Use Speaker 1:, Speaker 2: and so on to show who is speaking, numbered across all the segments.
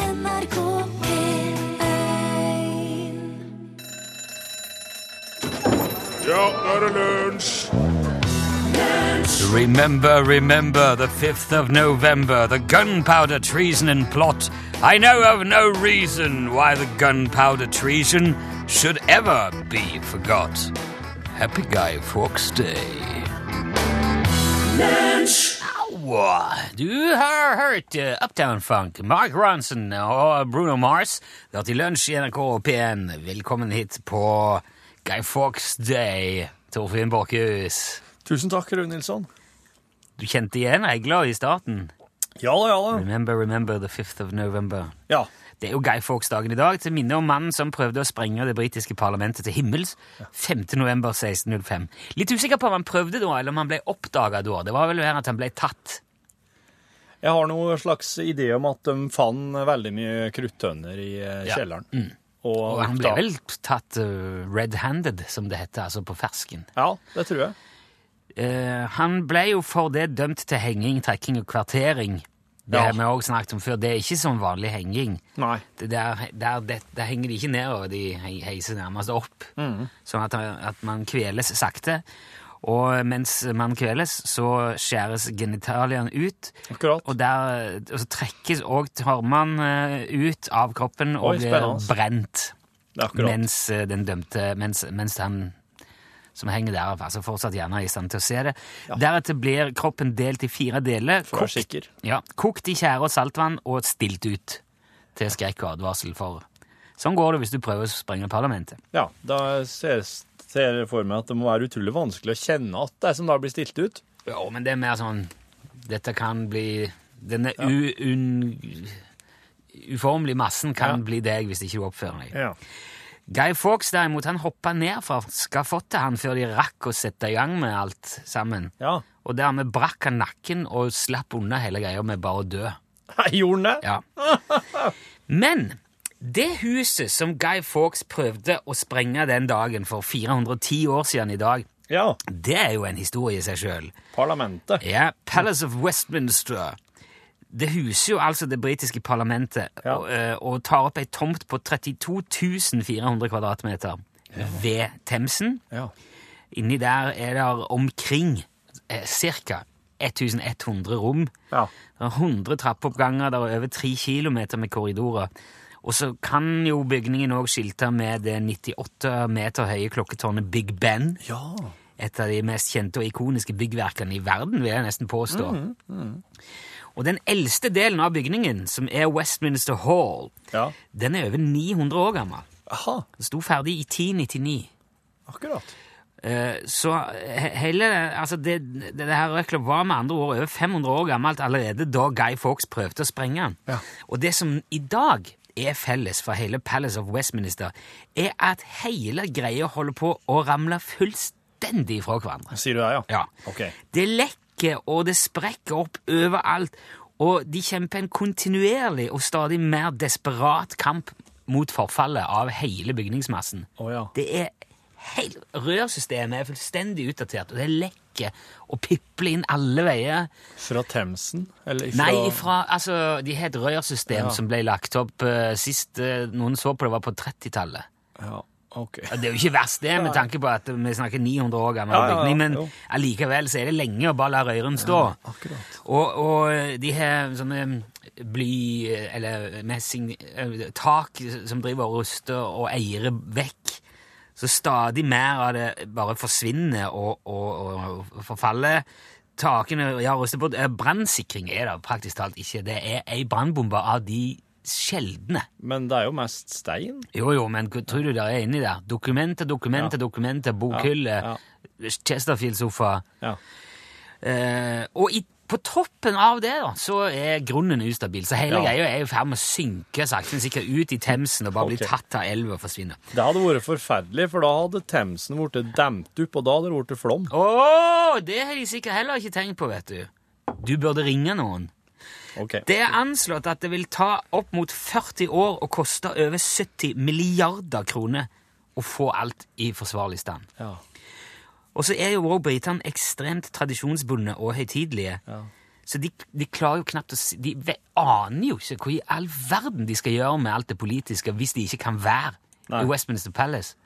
Speaker 1: NRK P1
Speaker 2: Ja, nå er det lunsj!
Speaker 3: Remember, remember the 5th of November, the gunpowder treason and plot. I know of no reason why the gunpowder treason should ever be forgot. Happy Guy Fawkes Day. Au! Du har hørt eh, Uptown Funk, Mark Ronson og Bruno Mars. Det er til lunsj i NRK og P1. Velkommen hit på Guy Fawkes Day, Torfinn Borkhus.
Speaker 2: Tusen takk, Rune Nilsson.
Speaker 3: Du kjente igjen Egla i starten.
Speaker 2: Ja da, ja da.
Speaker 3: Remember, remember the 5th of November.
Speaker 2: Ja.
Speaker 3: Det er jo Guy Fawkes-dagen i dag, til minne om mannen som prøvde å sprenge det britiske parlamentet til himmels 5. november 1605. Litt usikker på om han prøvde da, eller om han ble oppdaga da. Det var vel her at han ble tatt.
Speaker 2: Jeg har noen slags idé om at de fant veldig mye kruttønner i eh,
Speaker 3: Ja.
Speaker 2: kjelleren.
Speaker 3: Og han ble vel tatt eh, red-handed, som det heter, altså på fersken.
Speaker 2: Ja, det tror jeg.
Speaker 3: Eh, han ble jo for det dømt til henging, trekking og kvartering. Det
Speaker 2: Ja.
Speaker 3: har vi også snakket om før. Det er ikke som vanlig henging.
Speaker 2: Nei.
Speaker 3: det der, der, det, der henger de ikke nedover, de he- heiser nærmest opp.
Speaker 2: Mm.
Speaker 3: Sånn at, at man kveles sakte. Og mens man kveles, så skjæres genitaliene ut.
Speaker 2: Akkurat.
Speaker 3: Og, der, og så trekkes òg tarmene eh, ut av kroppen og
Speaker 2: Oi,
Speaker 3: blir
Speaker 2: spennende.
Speaker 3: brent
Speaker 2: Det er akkurat.
Speaker 3: mens eh, den dømte Mens, mens han som henger der, altså fortsatt gjerne er i stand til å se det. Deretter blir kroppen delt i fire deler.
Speaker 2: For å være sikker.
Speaker 3: Ja, kokt i tjære og saltvann og stilt ut til skrekk og advarsel for Sånn går det hvis du prøver å sprenge parlamentet.
Speaker 2: Ja, da ser ser jeg for meg at det må være utrolig vanskelig å kjenne at det som da blir stilt ut.
Speaker 3: Jo, men det er mer sånn Dette kan bli Denne u, un, uformelige massen kan
Speaker 2: Ja.
Speaker 3: bli deg hvis ikke du oppfører deg.
Speaker 2: Ja.
Speaker 3: Guy Fawkes derimot, han hoppa ned fra skafottet han før de rakk å sette i gang med alt sammen.
Speaker 2: ja.
Speaker 3: Og dermed brakk han nakken og slapp unna hele greia med bare å dø.
Speaker 2: Nei, Gjorde den det?
Speaker 3: Ja. Men det huset som Guy Fawkes prøvde å sprenge den dagen for 410 år siden i dag,
Speaker 2: Ja.
Speaker 3: det er jo en historie i seg sjøl.
Speaker 2: Parlamentet.
Speaker 3: Ja, Palace of Westminster. Det huser jo altså det britiske parlamentet
Speaker 2: Ja.
Speaker 3: og, eh, og tar opp ei tomt på 32 400 kvadratmeter ved Themsen.
Speaker 2: Ja.
Speaker 3: Inni der er det omkring eh, ca. 1100 rom.
Speaker 2: Ja.
Speaker 3: Det er 100 trappeoppganger, det er over 3 kilometer med korridorer. Og så kan jo bygningen òg skilte med det 98 meter høye klokketårnet Big Ben.
Speaker 2: Ja.
Speaker 3: Et av de mest kjente og ikoniske byggverkene i verden, vil jeg nesten påstå. Og den eldste delen av bygningen, som er Westminster Hall,
Speaker 2: ja.
Speaker 3: den er over 900 år gammel.
Speaker 2: Aha,
Speaker 3: Den sto ferdig i 1099.
Speaker 2: akkurat.
Speaker 3: Eh, Så he- hele altså det, det, det her røklet var med andre ord over 500 år gammelt allerede da Guy Fawkes prøvde å sprenge den.
Speaker 2: Ja.
Speaker 3: Og det som i dag er felles for hele Palace of Westminster, er at hele greia holder på å ramle fullstendig fra hverandre.
Speaker 2: Sier du det, ja?
Speaker 3: Ja.
Speaker 2: Ok.
Speaker 3: Det lekker, og det sprekker opp overalt, og de kjemper en kontinuerlig og stadig mer desperat kamp mot forfallet av hele bygningsmassen.
Speaker 2: Å ja.
Speaker 3: Det er helt, Rørsystemet er fullstendig utdatert, og det lekker og pipler inn alle veier.
Speaker 2: Fra Themsen? Eller ifra...
Speaker 3: Nei, ifra, altså, de har et rørsystem
Speaker 2: Ja.
Speaker 3: som ble lagt opp eh, sist eh, noen så på det, var på 30-tallet.
Speaker 2: Ja, ok.
Speaker 3: Ja, Det er jo ikke verst, det, med tanke på at vi snakker 900 år gammel
Speaker 2: Ja, ja, ja,
Speaker 3: bygning, men
Speaker 2: jo.
Speaker 3: allikevel så er det lenge å bare la røyren stå.
Speaker 2: Akkurat.
Speaker 3: Og, og de har sånne bly eller messing eh, tak som driver og ruster og eier vekk. Så stadig mer av det bare forsvinner og, og, og forfaller. Takene ja, ruster på. Eh, Brannsikring er det praktisk talt ikke. Det er ei brannbombe av de sjeldne.
Speaker 2: Men det er jo mest stein.
Speaker 3: Jo, jo, men hva tror du det er inni der? Dokumenter, dokumenter, dokumenter, bokhylle,
Speaker 2: Ja,
Speaker 3: Chesterfield-sofa.
Speaker 2: Ja.
Speaker 3: Eh, og i, på toppen av det da, så er grunnen ustabil, så hele
Speaker 2: Ja.
Speaker 3: greia er i ferd med å synke sakte, men sikkert ut i Themsen og bare
Speaker 2: Ok.
Speaker 3: bli tatt av elva og forsvinne.
Speaker 2: Det hadde vært forferdelig, for da hadde Themsen blitt demt opp, og da hadde det blitt flom.
Speaker 3: Å, det har de sikkert heller ikke tenkt på, vet du. Du burde ringe noen.
Speaker 2: Ok.
Speaker 3: Det er anslått at det vil ta opp mot 40 år og koste over 70 milliarder kroner å få alt i forsvarlig stand.
Speaker 2: Ja.
Speaker 3: Og så er jo også britene ekstremt tradisjonsbundne og høytidelige. Så de, de klarer jo knapt å si De ve- aner jo ikke hva i all verden de skal gjøre med alt det politiske hvis de ikke kan være
Speaker 2: Nei.
Speaker 3: i Westminster Palace.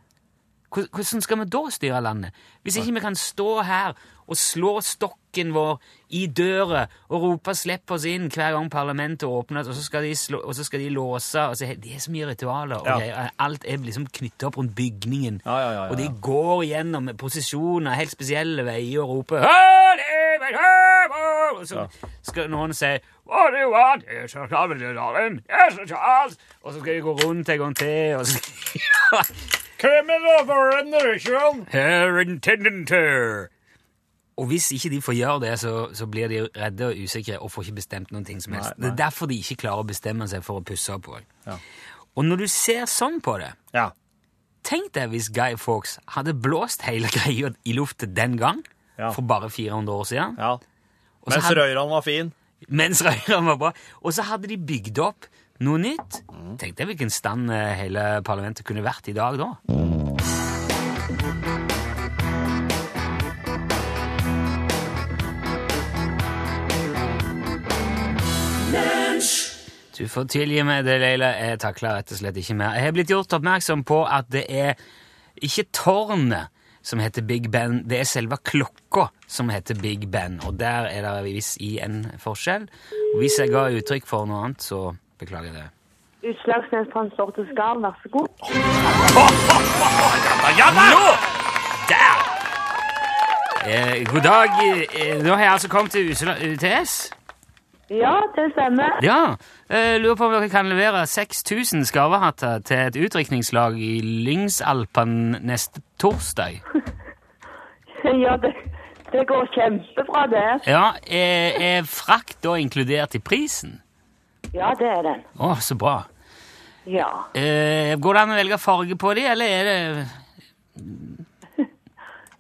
Speaker 3: Hvor- Hvordan skal vi da styre landet? Hvis ikke vi kan stå her og slå stokken vår i døra og rope 'slipp oss inn' hver gang parlamentet åpnes, og så skal de, slå, og så skal de låse og så, Det er så mye ritualer. og
Speaker 2: Ja.
Speaker 3: greier. Alt er liksom knyttet opp rundt bygningen.
Speaker 2: Ja, ja, ja, ja,
Speaker 3: Og de
Speaker 2: ja.
Speaker 3: går gjennom posisjoner, helt spesielle veier, og roper «Hør, Even, hør, hør!» Og så skal noen si What do you want? Yes, Sir Charles, yes, Sir Charles. Og så skal de gå rundt en gang til, og så
Speaker 2: Criminal Foreign
Speaker 3: Herr Intendenter! Og hvis ikke de får gjøre det, så, så blir de redde og usikre og får ikke bestemt noen ting som helst.
Speaker 2: Nei, nei.
Speaker 3: Det er derfor de ikke klarer å bestemme seg for å pusse opp. også.
Speaker 2: Ja.
Speaker 3: Og når du ser sånn på det,
Speaker 2: Ja.
Speaker 3: tenk deg hvis Guy Fawkes hadde blåst hele greia i luftet den gang,
Speaker 2: Ja.
Speaker 3: for bare 400 år siden,
Speaker 2: ja.
Speaker 3: og så
Speaker 2: Mens
Speaker 3: hadde-
Speaker 2: røyrene var fin.
Speaker 3: mens røyren var bra, og så hadde de bygd opp noe nytt. Tenk deg hvilken stand eh, hele parlamentet kunne vært i dag da. Du får tilgi meg det, Leila. Jeg takler rett og slett ikke mer. Jeg har blitt gjort oppmerksom på at det er ikke tårnet som heter Big Ben, det er selve klokka som heter Big Ben, og der er det visst i en forskjell. Og hvis jeg ga uttrykk for noe annet, så beklager jeg det.
Speaker 1: Utslagsnes Transport og Skarv, vær så god.
Speaker 3: Ja, nå! Der! Eh, god dag. Eh, Nå har jeg altså kommet til Usla- UTS.
Speaker 1: Ja, det stemmer.
Speaker 3: Ja, eh, lurer på om dere kan levere 6000 skarvehatter til et utdrikningslag i Lyngsalpen neste torsdag.
Speaker 1: Ja, det, det går kjempebra, det.
Speaker 3: Ja, er, er frakt da inkludert i prisen?
Speaker 1: Ja, det er den.
Speaker 3: Å, så bra.
Speaker 1: Ja.
Speaker 3: Eh, går det an å velge farge på de, eller er det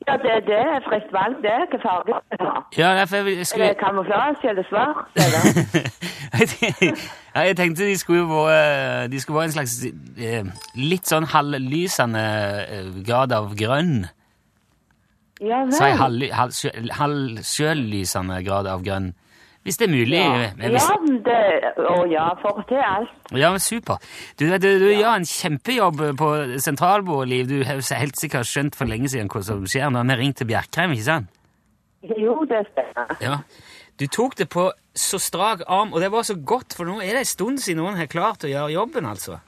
Speaker 1: Ja, det, det er fritt valg, det. Hva farge skal det ha?
Speaker 3: Ja, derfor jeg vil- jeg
Speaker 1: Er det
Speaker 3: skulle
Speaker 1: kamuflasje eller svart? Eller?
Speaker 3: ja, Jeg tenkte de skulle være, de skulle være en slags eh, litt sånn halvlysende eh, grad av grønn.
Speaker 1: Ja,
Speaker 3: Si
Speaker 1: vel.
Speaker 3: halv- halv- sjø- halvsjøllysende grad av grønn. Hvis det er mulig. men hvis,
Speaker 1: Ja, men det, å ja, for til alt.
Speaker 3: ja, men super. Du, du, du gjør en kjempejobb på sentralbordet, Liv. Du har jo helt sikkert skjønt for lenge siden hva som skjer. Nå har vi ringt til Bjerkreim, ikke sant?
Speaker 1: Jo, det stemmer.
Speaker 3: Ja. Du tok det på så strak arm, og det var så godt, for nå er det en stund siden noen har klart å gjøre jobben, altså.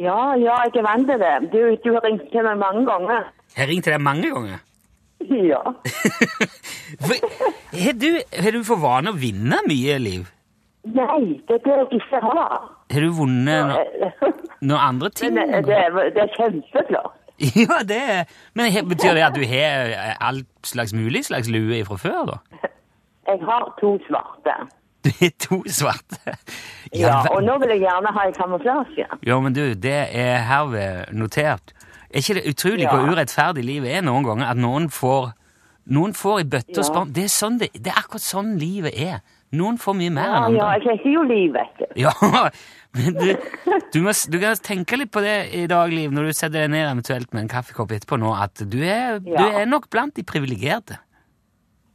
Speaker 1: Ja, ja, jeg er vant til det. Du, du har ringt til meg mange ganger.
Speaker 3: Jeg har ringt til deg mange ganger.
Speaker 1: Ja.
Speaker 3: For- Har du, har du for vane å vinne mye, Liv?
Speaker 1: Nei, det er det jeg ikke har.
Speaker 3: Har du vunnet no noen andre ting?
Speaker 1: Men eh, det, det, er- det er kjempeflott.
Speaker 3: Ja, det er- Men he- betyr det at du har eh, all slags mulig slags lue fra før, da?
Speaker 1: Jeg har to svarte.
Speaker 3: Du har to svarte.
Speaker 1: Ja,
Speaker 3: ver-
Speaker 1: og nå vil jeg gjerne ha en kamuflasje.
Speaker 3: ja, men du, det er herved notert. Er ikke det utrolig
Speaker 1: Ja.
Speaker 3: hvor urettferdig livet er noen ganger? At noen får, noen får i bøtte og
Speaker 1: Ja.
Speaker 3: spann. Det, er sånn det, det er akkurat sånn livet er. Noen får mye mer
Speaker 1: Ja,
Speaker 3: enn andre.
Speaker 1: ja, jeg kjenner jo liv, vet du.
Speaker 3: Ja, men du, du, må, s- du kan tenke litt på det i dag, Liv, når du setter deg ned eventuelt med en kaffekopp etterpå nå, at du er, du
Speaker 1: Ja.
Speaker 3: er nok blant de privilegerte.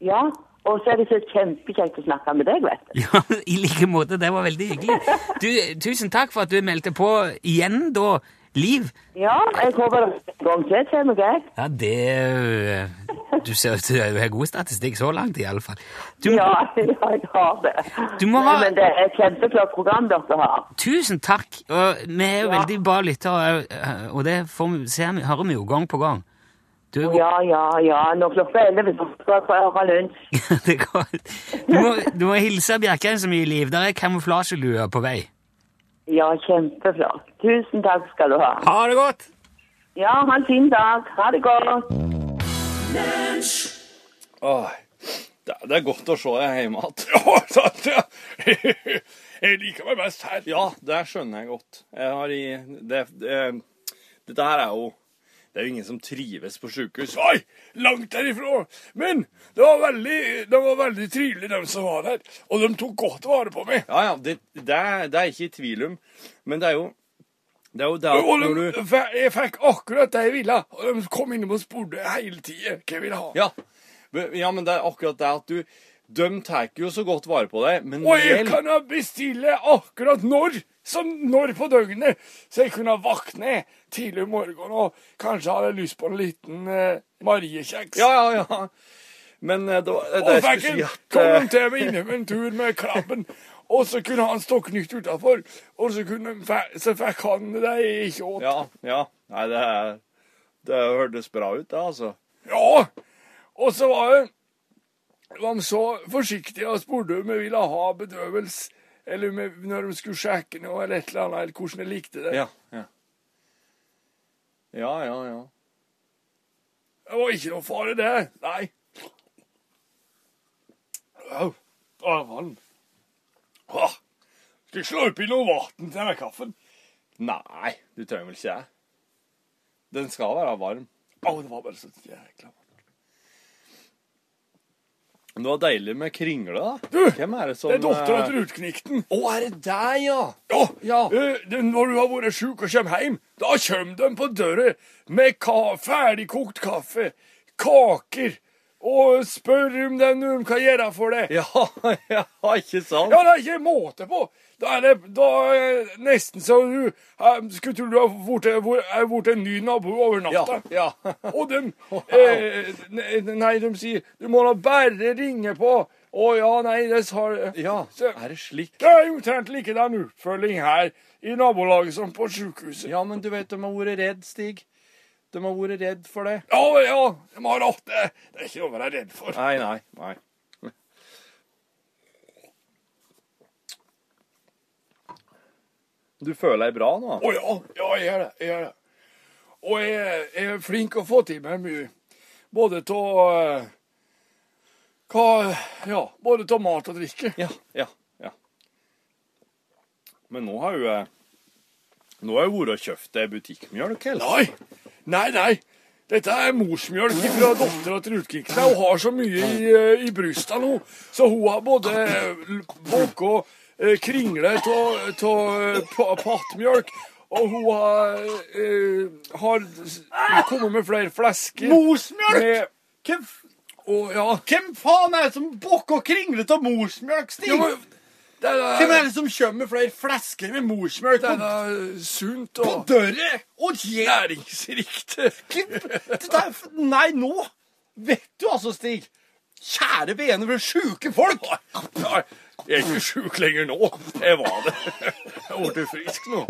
Speaker 1: Ja, og så er det så kjempekjekt å snakke med deg, vet du.
Speaker 3: Ja, I like måte. Det var veldig hyggelig. Du, tusen takk for at du meldte på igjen, da, Liv.
Speaker 1: Ja, jeg håper det er en gang til, ser meg jeg.
Speaker 3: Ja, det Du ser ut til å ha god statistikk så langt, iallfall. Du,
Speaker 1: Ja, ja, jeg har det.
Speaker 3: Du må ha-
Speaker 1: Nei, Men det er et kjempeflott program dere har.
Speaker 3: Tusen takk. Og vi er jo
Speaker 1: Ja.
Speaker 3: veldig bra lyttere, og- og det får, vi- ser, vi- hører vi jo gang på gang. Du er god.
Speaker 1: Ja, ja, ja. Når klokka er 11, så skal jeg få høre lunsj.
Speaker 3: Det er godt. Du må, du må hilse Bjerkreim så mye, Liv. Der er kamuflasjelua på vei.
Speaker 1: Ja, kjempeflott. Tusen takk skal du ha.
Speaker 3: Ha det godt!
Speaker 1: Ja, ha en fin dag. Ha det godt.
Speaker 2: Åh, det, det er godt å se deg hjemme igjen.
Speaker 4: Ja, sant, ja. Jeg liker meg best her.
Speaker 2: Ja, det skjønner jeg godt. Jeg har i, det, det, dette her er jo Det er jo ingen som trives på sjukehus.
Speaker 4: Oi, langt derifra. Men det var veldig, det var veldig trivelig, de som var der. Og de tok godt vare på meg.
Speaker 2: Ja, ja, det, det, er- det er ikke i tvil om. Men det er jo Det er jo det at
Speaker 4: Og
Speaker 2: når
Speaker 4: de,
Speaker 2: du
Speaker 4: fe- jeg fikk akkurat det jeg ville. Og de kom innom og spurte hele tida hva jeg ville ha.
Speaker 2: Ja, men- ja men det er akkurat det at du De tar jo så godt vare på deg, men
Speaker 4: Og jeg
Speaker 2: mel-
Speaker 4: kan da bestille akkurat når som når på døgnet, så jeg kunne våkne tidlig om morgenen og kanskje hadde lyst på en liten eh, mariekjeks.
Speaker 2: Ja, ja, ja. Men eh, det var det
Speaker 4: Og
Speaker 2: jeg skulle
Speaker 4: fikk
Speaker 2: si
Speaker 4: en
Speaker 2: at eh,
Speaker 4: kom til meg innom en tur med krabben. Og så kunne han stokknytt utafor, og så, kunne, han fe- så fikk han det jeg ikke åt.
Speaker 2: Ja, ja. Nei, det, er- det hørtes bra ut, det, altså.
Speaker 4: Ja! Og så var hun var de så forsiktige og spurte om vi ville ha bedøvelse, eller om vi- når de skulle sjekke noe, eller et eller annet, eller hvordan de likte det.
Speaker 2: Ja, ja. Ja, ja, ja.
Speaker 4: Det var ikke noe fare, det. Nei. Au. Å, vann. Å, skal jeg slå opp i noe vann til denne kaffen?
Speaker 2: Nei, du trenger vel ikke det. Den skal være varm.
Speaker 4: Au, det var bare så jækla varmt.
Speaker 2: Men det var deilig med kringle, da.
Speaker 4: Du,
Speaker 2: Hvem er det som
Speaker 4: Det er dattera
Speaker 2: eh,
Speaker 4: til Rutknikten.
Speaker 2: Å, er det deg, ja?
Speaker 4: Ja,
Speaker 2: Ja.
Speaker 4: eh, det- Når du har vært sjuk og kommer hjem, da kommer de på døra med ka ferdigkokt kaffe, kaker, og spør om det er noe de kan gjøre for deg. Ja.
Speaker 2: Ja, ja, ikke sant?
Speaker 4: det er ikke måte på! Da er det da, eh, nesten så du eh, skulle tro du har vært- er blitt en ny nabo over natta.
Speaker 2: ja.
Speaker 4: Og de eh, ne- Nei, de sier du må da bare ringe på. Å ja, nei, det sa
Speaker 2: ja.
Speaker 4: Så-
Speaker 2: Er det slik?
Speaker 4: det er jo omtrent likedan oppfølging her i nabolaget som på sjukehuset.
Speaker 2: Ja, men du vet, de har vært redd, Stig. De har vært redd for det.
Speaker 4: Ja, ja, de har hatt det. Det er ikke noe å være redd for.
Speaker 2: Nei, nei, nei. Du føler deg bra nå?
Speaker 4: Å ja, ja, jeg gjør det. Jeg gjør det. Og jeg, jeg er flink å få til meg mye. Både av eh, Hva Ja, både av mat og drikke.
Speaker 2: Ja, ja, ja. Men nå har jo jeg Nå har jeg vært og kjøpt eh, butikkmjølk, eller?
Speaker 4: Nei, nei, nei. Dette er morsmjølk fra dattera til Rutkiksen. Hun har så mye i, eh, i brystet nå, så hun har både baka kringle av pattmjølk, og hun har, eh, har s- kommet med flere flesker.
Speaker 2: Morsmjølk?
Speaker 4: Med,
Speaker 2: Hvem, f-
Speaker 4: og, ja.
Speaker 2: hvem faen er det som bokker og kringler av morsmjølk, Stig?
Speaker 4: Ja, men Det er,
Speaker 2: hvem er det som kommer med flere flesker med morsmjølk
Speaker 4: det er
Speaker 2: på,
Speaker 4: da sunt
Speaker 2: på
Speaker 4: og
Speaker 2: døra? Og jeg
Speaker 4: næringsrikt.
Speaker 2: Det der, nei, nå vet du altså, Stig. Kjære vene for sjuke folk.
Speaker 4: Nei, jeg er ikke sjuk lenger nå. Jeg var det. Jeg ble frisk nå.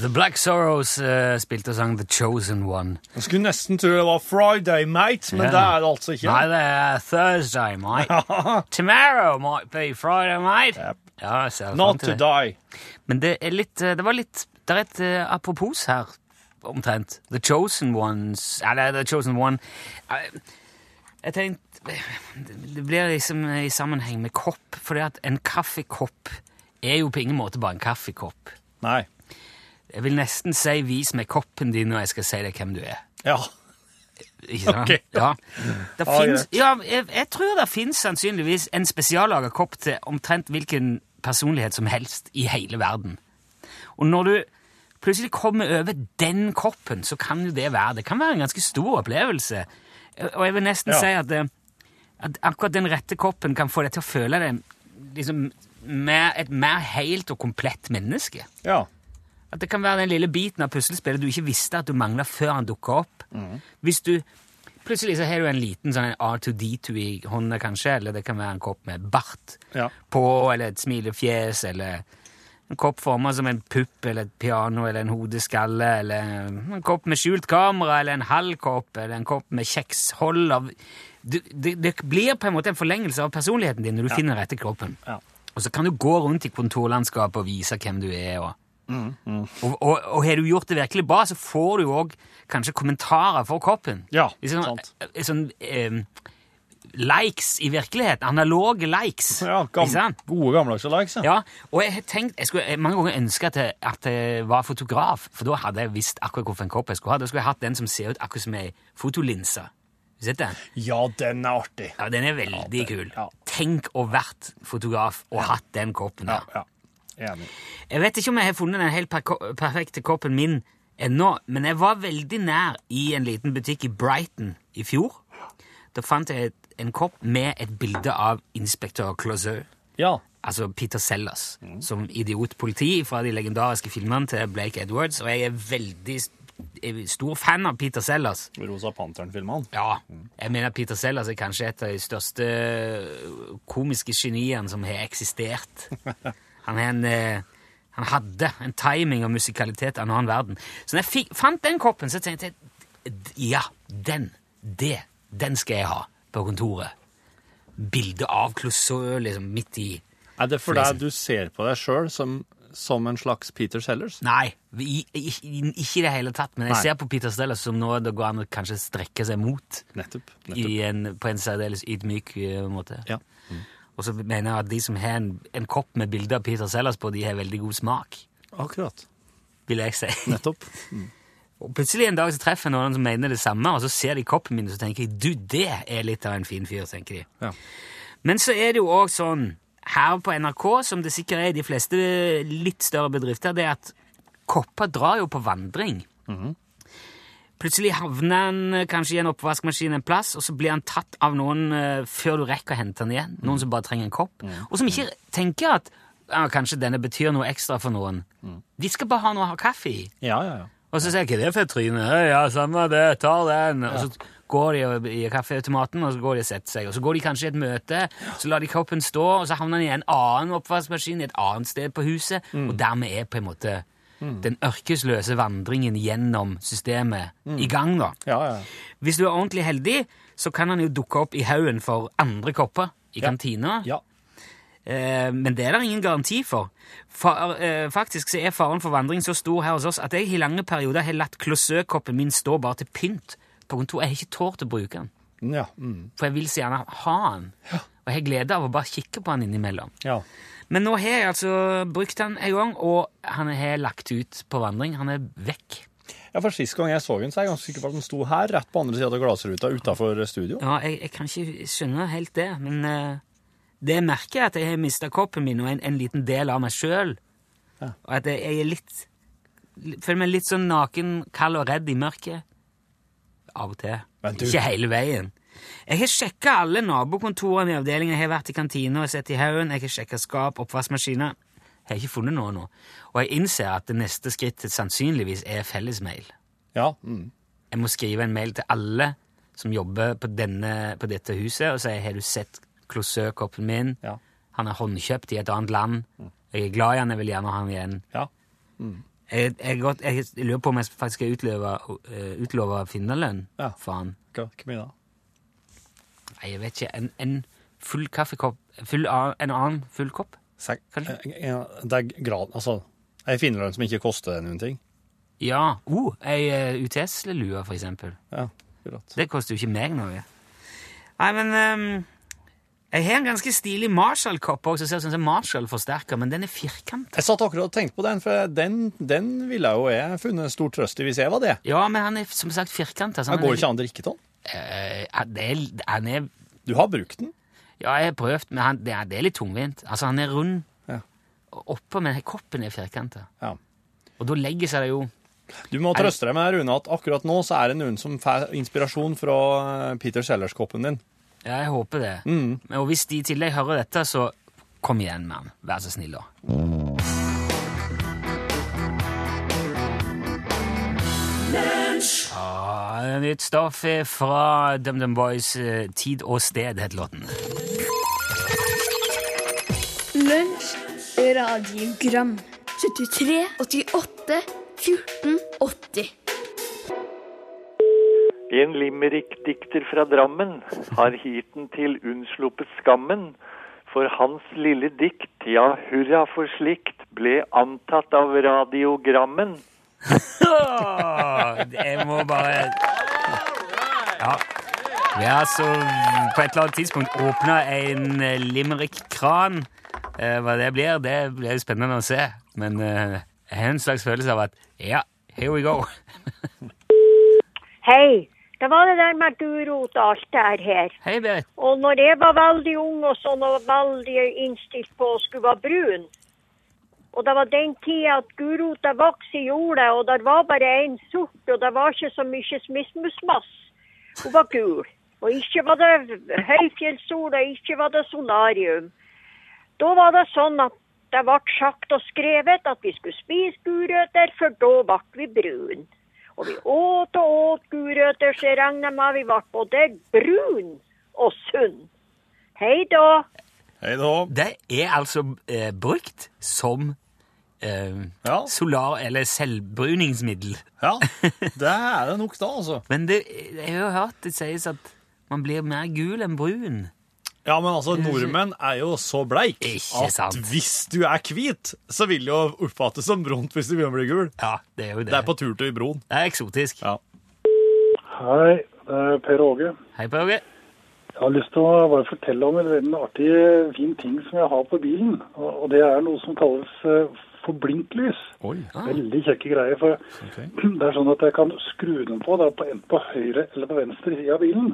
Speaker 3: The Black Sorrows eh, spilte og sang The Chosen One.
Speaker 5: Jeg skulle nesten tro det var Friday, mate, men
Speaker 3: Ja.
Speaker 5: det er det altså ikke.
Speaker 3: Nei, det er Thursday, mate. Tomorrow might be Friday, mate. Ja, jeg ser fram
Speaker 5: Not
Speaker 3: til
Speaker 5: to
Speaker 3: det.
Speaker 5: die.
Speaker 3: Men det er litt eh, Det var litt Det er et eh, apropos her, omtrent. The Chosen Ones Eller The Chosen One Eh, Jeg tenkte eh, Det blir liksom i sammenheng med kopp, fordi at en kaffekopp er jo på ingen måte bare en kaffekopp.
Speaker 5: Nei.
Speaker 3: Jeg vil nesten si 'vis meg koppen din' når jeg skal si deg hvem du er.
Speaker 5: Ja.
Speaker 3: Ikke
Speaker 5: Ok.
Speaker 3: sant?
Speaker 5: Ah,
Speaker 3: Ja. Det
Speaker 5: Ja,
Speaker 3: finnes, ja, jeg, jeg tror det finnes sannsynligvis en spesiallaga kopp til omtrent hvilken personlighet som helst i hele verden. Og når du plutselig kommer over den koppen, så kan jo det være Det kan være en ganske stor opplevelse. Og jeg vil nesten
Speaker 5: Ja.
Speaker 3: si at, eh, at akkurat den rette koppen kan få deg til å føle deg liksom, mer, et mer helt og komplett menneske.
Speaker 5: Ja.
Speaker 3: At det kan være den lille biten av puslespillet du ikke visste at du mangla før han dukka opp. Hvis du Plutselig så har du en liten sånn R2D2 i hånda, kanskje, eller det kan være en kopp med bart
Speaker 5: Ja.
Speaker 3: på, eller et smilefjes, eller en kopp forma som en pupp eller et piano eller en hodeskalle, eller en kopp med skjult kamera, eller en halv kopp, eller en kopp med kjekshold av du, det, det blir på en måte en forlengelse av personligheten din når du finner den rette kroppen.
Speaker 5: Ja.
Speaker 3: Og så kan du gå rundt i kontorlandskapet og vise hvem du er. og...
Speaker 5: Mm,
Speaker 3: Og, og, og har du gjort det virkelig bra, så får du jo òg kanskje kommentarer for koppen.
Speaker 5: Ja,
Speaker 3: I sånn,
Speaker 5: sant.
Speaker 3: eh, Sånn, eh, likes i virkeligheten. Analoge likes.
Speaker 5: ja gam
Speaker 3: Ikke sant?
Speaker 5: gode gammeldagse likes, ja.
Speaker 3: Ja, og jeg har tenkt, jeg skulle mange ganger ønske at jeg, at jeg var fotograf, for da hadde jeg visst akkurat hvilken kopp jeg skulle ha. Da skulle jeg hatt den som ser ut akkurat som ei fotolinse. Har du sett den?
Speaker 5: Ja, den er artig.
Speaker 3: Ja, den er veldig
Speaker 5: den-
Speaker 3: kul.
Speaker 5: ja.
Speaker 3: Tenk å vært fotograf og hatt den koppen
Speaker 5: Ja,
Speaker 3: der.
Speaker 5: ja. Enig.
Speaker 3: Jeg vet ikke om jeg har funnet den helt perko- perfekte koppen min ennå, men jeg var veldig nær i en liten butikk i Brighton i fjor. Da fant jeg et, en kopp med et bilde av inspektør Clouseau,
Speaker 5: Ja.
Speaker 3: altså Peter Sellers, som idiotpoliti fra de legendariske filmene til Blake Edwards, og jeg er veldig s- jeg er stor fan av Peter Sellers.
Speaker 5: Rosa Panteren-filmene.
Speaker 3: Ja, jeg mener Peter Sellers er kanskje et av de største eh, komiske geniene som har eksistert. Han, er en, eh, han hadde en timing og musikalitet av en annen verden. Så når jeg fikk, fant den koppen, så tenkte jeg "D- ja, den, det, den skal jeg ha på kontoret. Bilde av Clouseau liksom midt i
Speaker 5: Er det fordi du ser på deg sjøl som, som en slags Peter Sellers?
Speaker 3: Nei, i, i, i, ikke i det hele tatt, men jeg
Speaker 5: Nei.
Speaker 3: ser på Peter Sellers som nå det går an å kanskje strekke seg mot.
Speaker 5: Nettopp. nettopp.
Speaker 3: i en, på en særdeles ydmyk eh, måte.
Speaker 5: Ja.
Speaker 3: Og så mener jeg at de som har en, en kopp med bilde av Peter Sellers på, de har veldig god smak,
Speaker 5: Akkurat.
Speaker 3: vil jeg si.
Speaker 5: Nettopp.
Speaker 3: Og plutselig en dag så treffer jeg noen som mener det samme, og så ser de koppen min, og så tenker de du, det er litt av en fin fyr, tenker de.
Speaker 5: Ja.
Speaker 3: Men så er det jo òg sånn her på NRK, som det sikkert er i de fleste litt større bedrifter, det er at kopper drar jo på vandring. Plutselig havner han eh, kanskje i en oppvaskmaskin en plass, og så blir han tatt av noen eh, før du rekker å hente han igjen. Noen som bare trenger en kopp, og som ikke tenker at ja, kanskje denne betyr noe ekstra for noen. De skal bare ha noe å ha kaffe i.
Speaker 5: Ja, ja, ja.
Speaker 3: Og så sier jeg ikke det for et tryne. «Hei, Ja, samme det, ta den. Og så går de og- i kaffeautomaten, og så går de og setter seg. Og så går de kanskje i et møte, så lar de koppen stå, og så havner den i en annen oppvaskmaskin i et annet sted på huset, og dermed er på en måte den ørkesløse vandringen gjennom systemet i gang, da.
Speaker 5: ja, ja.
Speaker 3: Hvis du er ordentlig heldig, så kan han jo dukke opp i haugen for andre kopper i kantina.
Speaker 5: ja.
Speaker 3: Eh, men det er det ingen garanti for. Fa- eh, faktisk så er faren for vandring så stor her hos oss at jeg i lange perioder har latt klosøkoppen min stå bare til pynt på kontoret. Jeg har ikke tålt å bruke den,
Speaker 5: ja. Mm.
Speaker 3: for jeg vil så gjerne ha den. Og jeg har glede av å bare kikke på den innimellom.
Speaker 5: ja.
Speaker 3: Men nå har jeg altså brukt den en gang, og han har lagt ut på vandring. Han er vekk.
Speaker 5: Ja, for Sist gang jeg så den, så er jeg ganske sikker på at den sto her, rett på andre sida av glassruta utafor studio.
Speaker 3: Ja, jeg, jeg kan ikke skjønne helt det, men eh, det jeg merker er at jeg har mista koppen min og en, en liten del av meg sjøl. Og at jeg, jeg er litt li- Føler meg litt sånn naken, kald og redd i mørket. Av og til.
Speaker 5: Men du-
Speaker 3: Ikke hele veien. Jeg har sjekka alle nabokontorene i avdelinga. Jeg har vært i kantina og sett i haugen. Jeg har sjekka skap, oppvaskmaskiner. Jeg har ikke funnet noe nå. Og jeg innser at det neste skrittet sannsynligvis er fellesmail.
Speaker 5: Ja. Mm.
Speaker 3: Jeg må skrive en mail til alle som jobber på, denne, på dette huset, og si har du sett klosøkoppen min?
Speaker 5: Ja.
Speaker 3: Han er håndkjøpt i et annet land. Jeg er glad i han, jeg vil gjerne ha han igjen.
Speaker 5: ja.
Speaker 3: Jeg, jeg, er godt, jeg lurer på om jeg faktisk skal utløve, eh, utlove finnerlønn
Speaker 5: Ja.
Speaker 3: for han.
Speaker 5: Hva, hvem er det?
Speaker 3: Nei, jeg vet ikke. En, en full kaffekopp full, av- En annen full kopp?
Speaker 5: Sek
Speaker 3: Kanskje?
Speaker 5: Eh, eh, Det er grad... Altså, ei finnerlønn som ikke koster noen ting.
Speaker 3: Ja. Oh, ei eh, UTS-lue, for eksempel.
Speaker 5: Ja, akkurat.
Speaker 3: Det koster jo ikke meg noe. Nei, men ehm, Jeg har en ganske stilig Marshall-kopp også, som ser ut som en Marshall-forsterker, men den er firkant.
Speaker 5: Jeg satt akkurat og tenkte på den, for den, den ville jo jeg funnet stor trøst i hvis jeg var det.
Speaker 3: Ja, men han er som sagt firkanta.
Speaker 5: Det går ikke an å drikke av den.
Speaker 3: han er, han er
Speaker 5: Du har brukt den.
Speaker 3: Ja, jeg har prøvd, men han, det, er, det er litt tungvint. Altså, han er rund
Speaker 5: Ja.
Speaker 3: og oppå, men koppen er firkanta.
Speaker 5: Ja.
Speaker 3: Og da legger seg det jo
Speaker 5: Du må trøste deg med Rune, at akkurat nå så er det noen som får inspirasjon fra eh, Peter Sellers-koppen din.
Speaker 3: Ja, jeg håper det. Men- Og hvis de i tillegg hører dette, så kom igjen med han. Vær så snill, da. Ja, Ah, nytt stoff er fra DumDum Boys eh, 'Tid og sted' het låten.
Speaker 6: Lunsj, radiogram 73, 88, 14, 80
Speaker 7: En limerick-dikter fra Drammen har hitentil unnsluppet skammen, for hans lille dikt, ja hurra for slikt, ble antatt av radiogrammen.
Speaker 3: Åh, Jeg må bare Ja. Vi har altså på et eller annet tidspunkt åpna en eh, limerick-kran. Eh, hva det blir, det blir jo spennende å se. Men eh, jeg har en slags følelse av at ja, here we go.
Speaker 8: Hei. Det var det der med at du rot og alt det her her.
Speaker 3: Hei, Berit.
Speaker 8: Og når jeg var veldig ung og sånn og veldig innstilt på å skulle være brun, Og det var den tida at gulrota vokste i jorda, og det var bare én sort, og det var ikke så mye smismusmass. Hun var gul. Og ikke var det høyfjellssol, og ikke var det solarium. Da var det sånn at det ble sagt og skrevet at vi skulle spise gulrøtter, for da ble vi brune. Og vi åt og åt gulrøtter, så jeg regner med vi ble både brun og sunn. Hei da.
Speaker 5: Hei da.
Speaker 3: Det er altså eh, brukt som eh,
Speaker 5: Ja.
Speaker 3: solar- eller selvbruningsmiddel.
Speaker 5: Ja, det er det nok da, altså.
Speaker 3: Men det, jeg har jo hørt det sies at man blir mer gul enn brun.
Speaker 5: Ja, men altså, nordmenn er jo så bleik
Speaker 3: Ikke sant.
Speaker 5: at hvis du er hvit, så vil det jo oppfattes som brunt hvis du begynner å bli gul.
Speaker 3: Ja, det er jo det.
Speaker 5: Det er på tur til broen.
Speaker 3: Det er eksotisk.
Speaker 5: Ja.
Speaker 9: Hei, det er Per Åge.
Speaker 3: Hei, Per Åge.
Speaker 9: Jeg har lyst til å bare fortelle om en veldig artig, fin ting som jeg har på bilen. Og og det er noe som kalles eh, for blinklys.
Speaker 5: Oi.
Speaker 9: Veldig kjekke greier. For det er sånn at jeg kan skru den på, da, på enten på høyre eller på venstre side av bilen.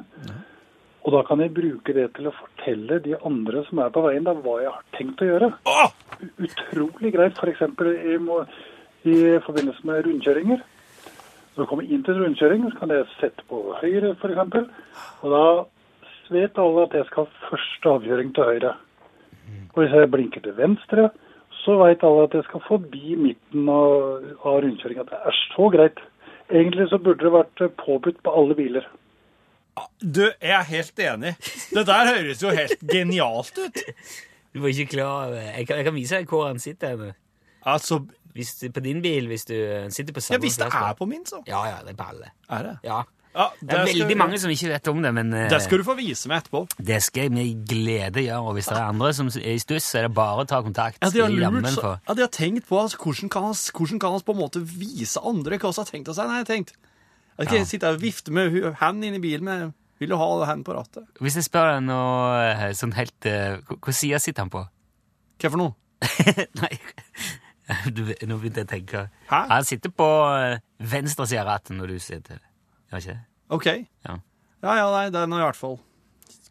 Speaker 9: Og da kan jeg bruke det til å fortelle de andre som er på veien, da, hva jeg har tenkt å gjøre. U- Utrolig greit. F.eks. I, må- i forbindelse med rundkjøringer. Når du kommer inn til rundkjøringen, så kan jeg sette på høyre, f.eks. Og da vet alle at jeg skal ha første avgjøring til høyre. Og hvis jeg blinker til venstre, så vet alle at jeg skal forbi midten av, av rundkjøringa. Det er så greit. Egentlig så burde det vært eh, påbudt på alle biler.
Speaker 5: Du, jeg er helt enig. Det der høres jo helt genialt ut.
Speaker 3: Du var ikke klar over Jeg kan, jeg kan vise deg hvor han sitter henne.
Speaker 5: Altså,
Speaker 3: Hvis du, på din bil, hvis du eh, sitter på
Speaker 5: ja,
Speaker 3: samme
Speaker 5: hvis det
Speaker 3: plass, da.
Speaker 5: er på min, så.
Speaker 3: Ja, ja, det er på alle.
Speaker 5: Er det?
Speaker 3: Ja.
Speaker 5: Ja,
Speaker 3: Det er
Speaker 5: det skal-
Speaker 3: veldig mange som ikke vet om det, men eh,
Speaker 5: Det skal du få vise meg etterpå.
Speaker 3: det skal jeg med glede gjøre. Og hvis det er andre som er i stuss, så er det bare å ta kontakt.
Speaker 5: Ja, de har,
Speaker 3: Det er
Speaker 5: lurt,
Speaker 3: jammen
Speaker 5: så,
Speaker 3: for-
Speaker 5: ja, de har tenkt på altså, hvordan kan hans- hvordan kan hans på en måte vise andre hva som har tenkt å si. Nei, jeg har tenkt. Jeg kan ikke sitte her og vifte med hu- hand inn i bilen, men jeg vil jo ha hand på rattet.
Speaker 3: Hvis jeg spør deg noe eh, sånn helt eh, hva- Hva side sitter han på?
Speaker 5: Hva for noe?
Speaker 3: Nei, du, vet- nå begynte jeg å tenke.
Speaker 5: Hæ?
Speaker 3: Han sitter på eh, venstre side av rattet når du sitter. Ja, ikke det?
Speaker 5: Ok.
Speaker 3: Ja.
Speaker 5: Ja, ja, nei, det er noe i hvert fall.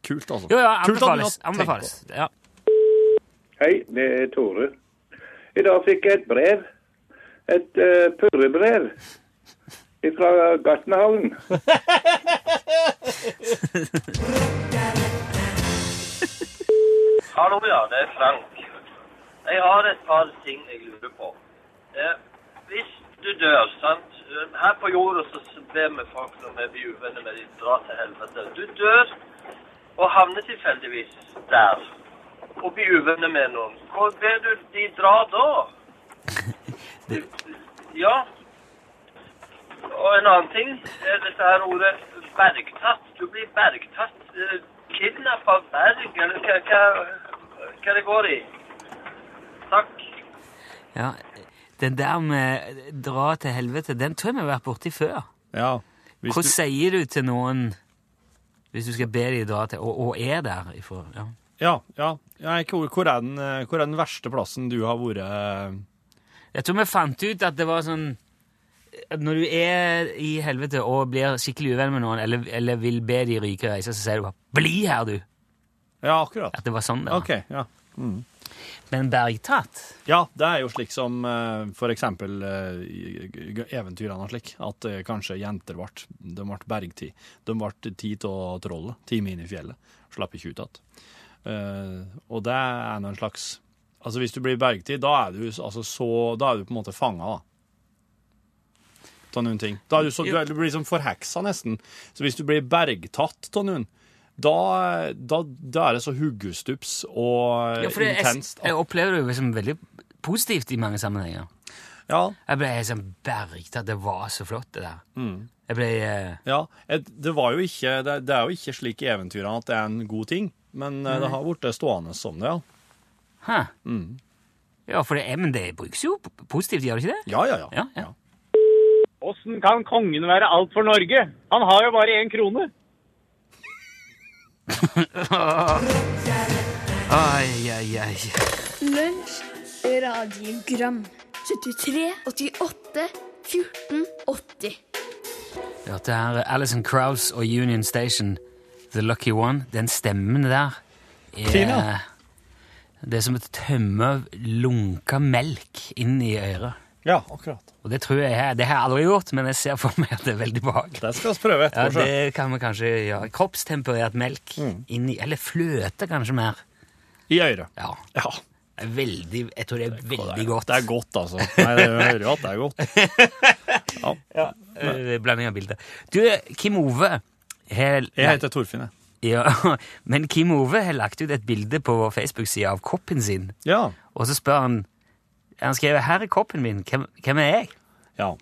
Speaker 5: Kult, altså.
Speaker 3: Jo, ja,
Speaker 5: Kult at du har
Speaker 3: anbefales.
Speaker 5: tenkt
Speaker 3: anbefales.
Speaker 5: på
Speaker 3: Ja.
Speaker 10: Hei, det er Tore. I dag fikk jeg et brev. Et eh, purrebrev fra Gartnerhallen.
Speaker 11: Hallo, ja. Det er Frank. Jeg har et par ting jeg lurer på. Eh, hvis du dør, sant Eh, Her på jorda så så ber vi folk når vi blir uvenner med dem, dra til helvete. Du dør og havner tilfeldigvis der og blir uvenner med noen. Hvor ber du de dra da? Ja. Og en annen ting er dette her ordet bergtatt. Du blir bergtatt. eh, Kidnapp av berg, eller hva, hva, hva det går i? Takk.
Speaker 3: Ja, den der med dra til helvete, den tror jeg vi har vært borti før.
Speaker 5: det. Ja.
Speaker 3: Hva
Speaker 5: Hvis du,
Speaker 3: sier du til noen hvis du skal be de dra til, og, og er der ifra? Ja.
Speaker 5: ja, ja. Nei, hvor, hvor, er den, eh, hvor er den verste plassen du har vært eh,
Speaker 3: Jeg tror vi fant ut at det var sånn at Når du er i helvete og blir skikkelig uvenn med noen, eller, eller vil be de ryke reise, så sier du bare 'bli her, du'.
Speaker 5: Ja, akkurat.
Speaker 3: At det var sånn det var.
Speaker 5: Ok, ja.
Speaker 3: Men bergtatt
Speaker 5: Ja, det er jo slik som eh, for eksempel eh, i- i- i eventyrene og slik, at eh, kanskje jenter ble, de ble bergtid. De ble tid til trollet, time inn i fjellet. Slapp ikke ut igjen. Eh, og det er nå en slags Altså hvis du blir bergtid, da er du, altså, så, da er du på en måte fanga, da. Av noen ting. Da er du, så, du, er- du blir liksom forheksa, nesten. Så hvis du blir bergtatt av noen, da, da, da er det så huggestups og
Speaker 3: ja, for det, jeg,
Speaker 5: intenst.
Speaker 3: jeg opplever det jo som veldig positivt i mange sammenhenger.
Speaker 5: Ja,
Speaker 3: Jeg ble helt sånn bergtatt. Det var så flott, det der.
Speaker 5: Mm.
Speaker 3: Jeg ble eh,
Speaker 5: Ja, et- det, var jo ikke, det, det er jo ikke slik i eventyrene at det er en god ting, men eh, det har blitt stående som det, ja.
Speaker 3: Hæ? Mm. Ja, for det er, men det brukes jo p- positivt, gjør det ikke det?
Speaker 5: Ja, ja, ja.
Speaker 3: Ja, ja.
Speaker 11: Åssen kan kongen være alt for Norge? Han har jo bare én krone.
Speaker 3: Ai, ai, ai.
Speaker 6: Lunsj, radiogram 73, 88, 14, 80
Speaker 3: Vi hørte her Alison Krauss og Union Station, The Lucky One. Den stemmen der er
Speaker 5: Fin, ja.
Speaker 3: Det er som å tømme lunka melk inn i øret.
Speaker 5: Ja, akkurat.
Speaker 3: Og det tror jeg jeg- det har jeg aldri gjort, men jeg ser for meg at det er veldig behagelig.
Speaker 5: Det skal vi prøve etterpå,
Speaker 3: Ja,
Speaker 5: sjø.
Speaker 3: det kan vi kanskje gjøre. Kroppstemperert melk inn i Eller fløte, kanskje mer.
Speaker 5: I øret.
Speaker 3: Ja. Det er Veldig, jeg tror det er veldig godt.
Speaker 5: Det er godt, altså. Nei, det hører jo at det er godt. Ja.
Speaker 3: Ja, eh, Blanding av bilder. Du, Kim Ove Jeg
Speaker 5: heter Torfinn, jeg.
Speaker 3: Ja, men Kim Ove har lagt ut et bilde på vår Facebook-side av koppen sin.
Speaker 5: Ja.
Speaker 3: Og så spør han Han skriver 'Her er koppen min. Hvem, hvem er jeg?'
Speaker 5: Ja.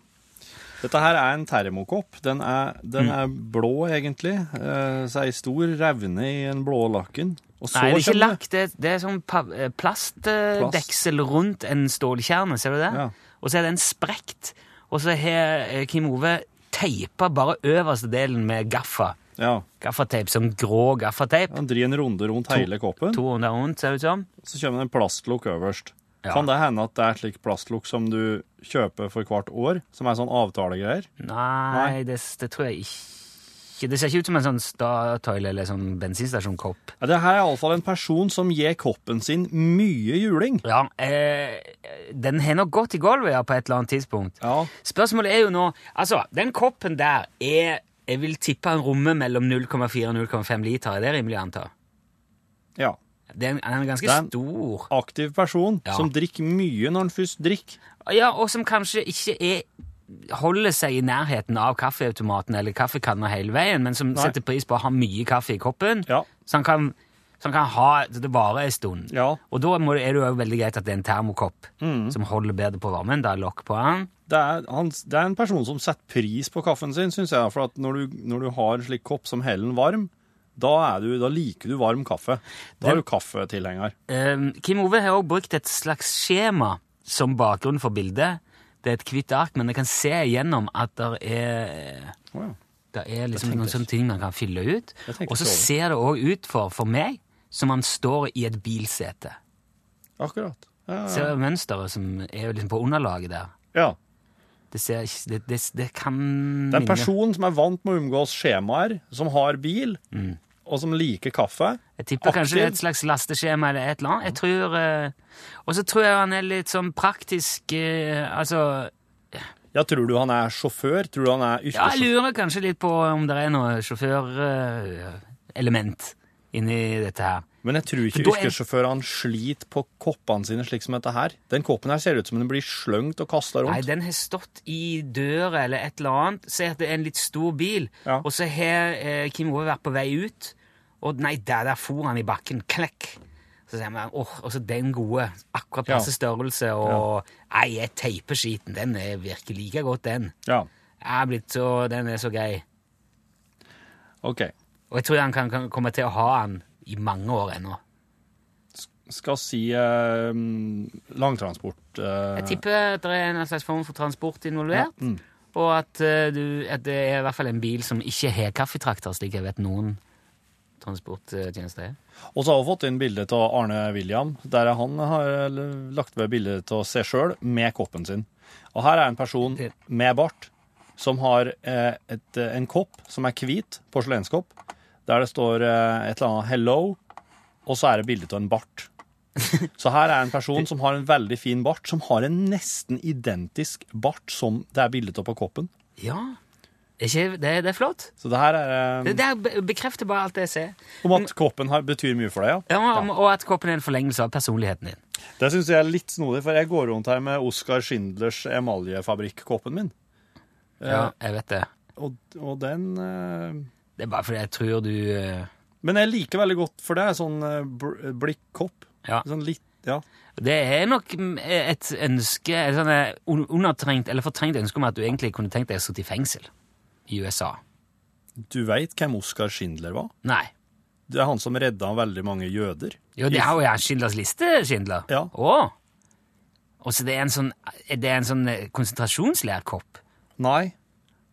Speaker 5: Dette her er en termokopp. Den er, den
Speaker 3: Mm.
Speaker 5: er blå, egentlig. Eh, så er ei stor revne i en blå lakken. Og så
Speaker 3: Nei, det er ikke
Speaker 5: kommer
Speaker 3: lakk. Det, det er sånn pa- eh, plastdeksel rundt en stålkjerne, ser du det? Og så er den sprekt. Og så har eh, Kim Ove teipa bare øverste delen med gaffa.
Speaker 5: Ja.
Speaker 3: Gaffateip, sånn grå gaffateip.
Speaker 5: Han drir en runde rundt hele koppen.
Speaker 3: To runder rundt, ser det ut som.
Speaker 5: Så kommer det en plastlokk øverst.
Speaker 3: Ja.
Speaker 5: Kan det hende at det er et slik plastlokk som du kjøper for hvert år? Som er sånn avtalegreier?
Speaker 3: Nei, det, det tror jeg ikke. Det ser ikke ut som en sånn Statoil eller sånn bensinstasjonkopp.
Speaker 5: Ja, det her er iallfall en person som gir koppen sin mye juling.
Speaker 3: Ja, eh, den har nok gått i gulvet ja, på et eller annet tidspunkt. Spørsmålet er jo nå Altså, den koppen der er Jeg vil tippe en romme mellom 0,4 og 0,5 liter. Er det rimelig å anta?
Speaker 5: Ja.
Speaker 3: Det er en, han er ganske
Speaker 5: Det er en
Speaker 3: stor.
Speaker 5: aktiv person
Speaker 3: Ja.
Speaker 5: som drikker mye når han først drikker.
Speaker 3: Ja, og som kanskje ikke er holder seg i nærheten av kaffeautomaten eller kaffekanna hele veien, men som
Speaker 5: Nei.
Speaker 3: setter pris på å ha mye kaffe i koppen, så, han kan, så han kan ha så det varer en stund. Og da må, det- er det jo også veldig greit at det er en termokopp
Speaker 5: Mm.
Speaker 3: som holder bedre på varmen. Det er lokk på den.
Speaker 5: Det er, han, det er en person som setter pris på kaffen sin, syns jeg. For at når du, når du har en slik kopp som heller den varm, da, er du, da liker du varm kaffe. Da
Speaker 3: Den-
Speaker 5: er du kaffetilhenger.
Speaker 3: Ehm, Kim Ove har også brukt et slags skjema som bakgrunn for bildet. Det er et hvitt ark, men jeg kan se igjennom at det er Det er
Speaker 5: Det tenkte
Speaker 3: liksom noen
Speaker 5: jeg
Speaker 3: sånne ting man kan fylle ut.
Speaker 5: Det tenkte
Speaker 3: Og så
Speaker 5: jeg ikke over.
Speaker 3: ser det òg ut for, for meg som man står i et bilsete.
Speaker 5: Akkurat. Ja,
Speaker 3: Ser
Speaker 5: ja.
Speaker 3: du mønsteret som er liksom på underlaget der?
Speaker 5: Ja.
Speaker 3: Det, ser, ikke- det, det, det kan
Speaker 5: Det er en
Speaker 3: minne-
Speaker 5: person som er vant med å omgås skjemaer, som har bil, og som liker kaffe.
Speaker 3: Jeg tipper kanskje det er et slags lasteskjema eller et eller annet. Jeg tror, eh, og så tror jeg han er litt sånn praktisk eh, Altså
Speaker 5: Ja, tror du han er sjåfør? Tror du han er
Speaker 3: Ja,
Speaker 5: yrkessjåfør?
Speaker 3: jeg lurer kanskje litt på om det er noe sjåførelement eh, inni dette her.
Speaker 5: Men jeg tror ikke
Speaker 3: For da er-
Speaker 5: yrkessjåførene sliter på koppene sine slik som dette her. Den koppen her ser ut som den blir sløngt og kasta
Speaker 3: Nei,
Speaker 5: rundt.
Speaker 3: den har stått i døra eller et eller annet. Se at det er en litt stor bil, og så har eh, Kim Ove vært på vei ut, og nei, der, der for han i bakken. Klekk! Så sier man, åh, og så den gode. Akkurat passe størrelse, og nei, jeg teiper skiten. Den er virker like godt, den. Jeg er blitt så, den er så grei.
Speaker 5: Ok.
Speaker 3: Og jeg tror han kan, kan komme til å ha den i mange år ennå.
Speaker 5: Skal si eh, langtransport eh,
Speaker 3: Jeg tipper at det er en slags form for transport
Speaker 5: ja,
Speaker 3: involvert,
Speaker 5: mm.
Speaker 3: og at, eh, du, at det er i hvert fall en bil som ikke har kaffetrakter, slik jeg vet noen transporttjenester er.
Speaker 5: Og så har vi fått inn bilde av Arne William, der han har eller, lagt ved bilde av seg sjøl med koppen sin. Og her er en person med bart som har eh, et, eh, en kopp som er hvit, porselenskopp, der det står eh, et eller annet 'hello', og så er det bilde av en bart. Så her er en person som har en veldig fin bart, som har en nesten identisk bart som det er bilde av på koppen.
Speaker 3: Ja, ikke, det, det er flott.
Speaker 5: Så det her er eh,
Speaker 3: Det der be- bekrefter bare alt det jeg ser.
Speaker 5: Om at koppen har, betyr mye for deg, ja.
Speaker 3: Ja, om- Og at koppen er en forlengelse av personligheten din.
Speaker 5: Det syns jeg er litt snodig, for jeg går rundt her med Oskar Schindlers emaljefabrikk-koppen min.
Speaker 3: Ja,
Speaker 5: Eh,
Speaker 3: jeg vet det.
Speaker 5: og, og den eh,
Speaker 3: Det er bare fordi jeg tror du eh,
Speaker 5: Men jeg liker veldig godt, for det er sånn eh, bl- blikkopp.
Speaker 3: Ja.
Speaker 5: Sånn litt Ja.
Speaker 3: Det er nok mm, et ønske, et sånn eh, un- undertrengt eller fortrengt ønske om at du egentlig kunne tenkt deg å sitte i fengsel i USA.
Speaker 5: Du veit hvem Oskar Schindler var?
Speaker 3: Nei.
Speaker 5: Det er han som redda veldig mange jøder.
Speaker 3: Jo, det er jo ja, Schindlers liste, Schindler. Ja. Å! Og så det er en sånn, er det en sånn eh, konsentrasjonsleirkopp?
Speaker 5: Nei.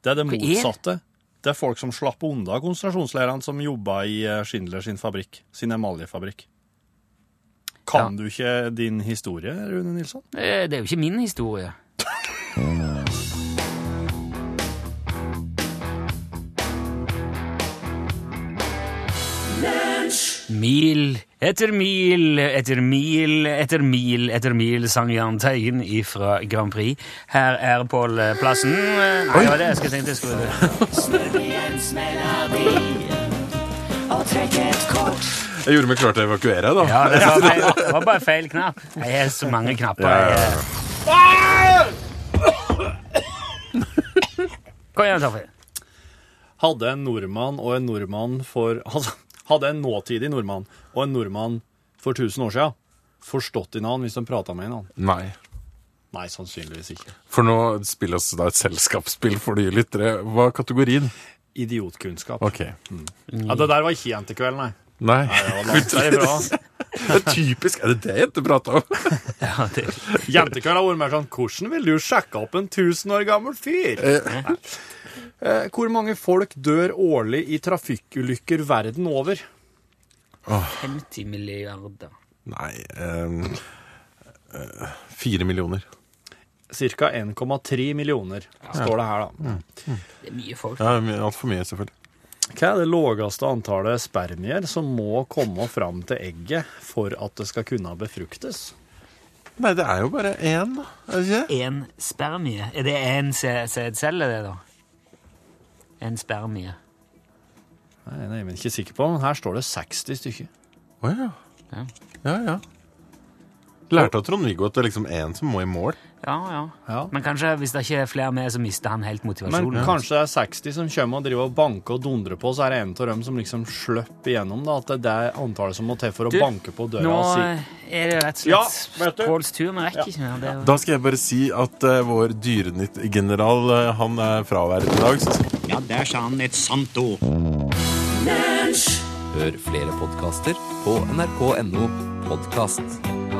Speaker 5: Det er det
Speaker 3: Hva er det?
Speaker 5: motsatte. Det er folk som slapp unna konsentrasjonsleirene, som jobba i eh, Schindler sin fabrikk. Sin emaljefabrikk. Kan du ikke din historie, Rune Nilsson?
Speaker 3: Eh, Det er jo ikke min historie.
Speaker 12: Lunsj!
Speaker 3: Mil etter mil etter mil etter mil eter mil sang Jahn Teigen ifra Grand Prix. Her er Pål eh, Plassen. Eh, Nei,
Speaker 6: Oi.
Speaker 3: det var det jeg skulle tenkt jeg skulle
Speaker 6: Snurriens melodi og trekk et kort.
Speaker 4: Jeg gjorde meg klar til å evakuere, da.
Speaker 3: Ja, det var, feil, det var bare feil knapp. Jeg har så mange knapper.
Speaker 4: Ja, ja,
Speaker 3: Jeg,
Speaker 4: ja.
Speaker 3: eh, Kom igjen, Toffe.
Speaker 5: Hadde en nordmann og en nordmann for altså, Hadde en nåtidig nordmann og en nordmann for 1000 år siden forstått hverandre hvis de prata med hverandre?
Speaker 4: Nei.
Speaker 5: Nei, sannsynligvis ikke.
Speaker 4: For nå spilles det da et selskapsspill for de lyttere. Hva er kategorien?
Speaker 5: Idiotkunnskap.
Speaker 4: Ok.
Speaker 5: Ja, Det der var ikke jentekveld, nei.
Speaker 4: Nei.
Speaker 5: det var langt derifra.
Speaker 4: det er typisk. Er det det jenter prater om?
Speaker 3: ja, det...
Speaker 5: Jentekveld har vært mer sånn Hvordan vil du sjekke opp en 1000 år gammel fyr?
Speaker 4: Eh.
Speaker 5: Nei. Eh, Hvor mange folk dør årlig i trafikkulykker verden over?
Speaker 3: 50 milliarder.
Speaker 4: Nei ehm, eh, Fire millioner.
Speaker 5: Cirka 1,3 millioner, står det her, da.
Speaker 3: Det er mye folk.
Speaker 4: Ja, Altfor mye, selvfølgelig.
Speaker 5: Hva er det laveste antallet spermier som må komme fram til egget for at det skal kunne befruktes?
Speaker 4: Nei, det er jo bare én, da. Er det ikke?
Speaker 3: En spermie. Er det en sæ- sædcelle, det, da? En spermie.
Speaker 5: Nei, det er jeg ikke sikker på, men her står det 60 stykker.
Speaker 4: Å ja. Ja, ja. Lærte av Trond-Viggo at det er liksom én som må i mål.
Speaker 3: Ja, ja, Men kanskje hvis det ikke er flere med, så mister han helt
Speaker 5: Men
Speaker 3: motivasjonen.
Speaker 5: kanskje det er 60 som kommer og driver og banker og dundrer på, så er det en av dem som liksom slipper igjennom, da, at det er det antallet som må til for å
Speaker 3: Du,
Speaker 5: banke på døra
Speaker 3: Nå
Speaker 5: og si
Speaker 3: eh, er det rett
Speaker 5: Ja,
Speaker 3: og slett Påls tur. Vi rekker ikke mer. Det er jo-
Speaker 4: Da skal jeg bare si at eh, vår dyrenyttgeneral eh, han er fraværende i dag. Så... Ja, der sa han et sant ord.
Speaker 13: Hør flere podkaster på nrk.no podkast.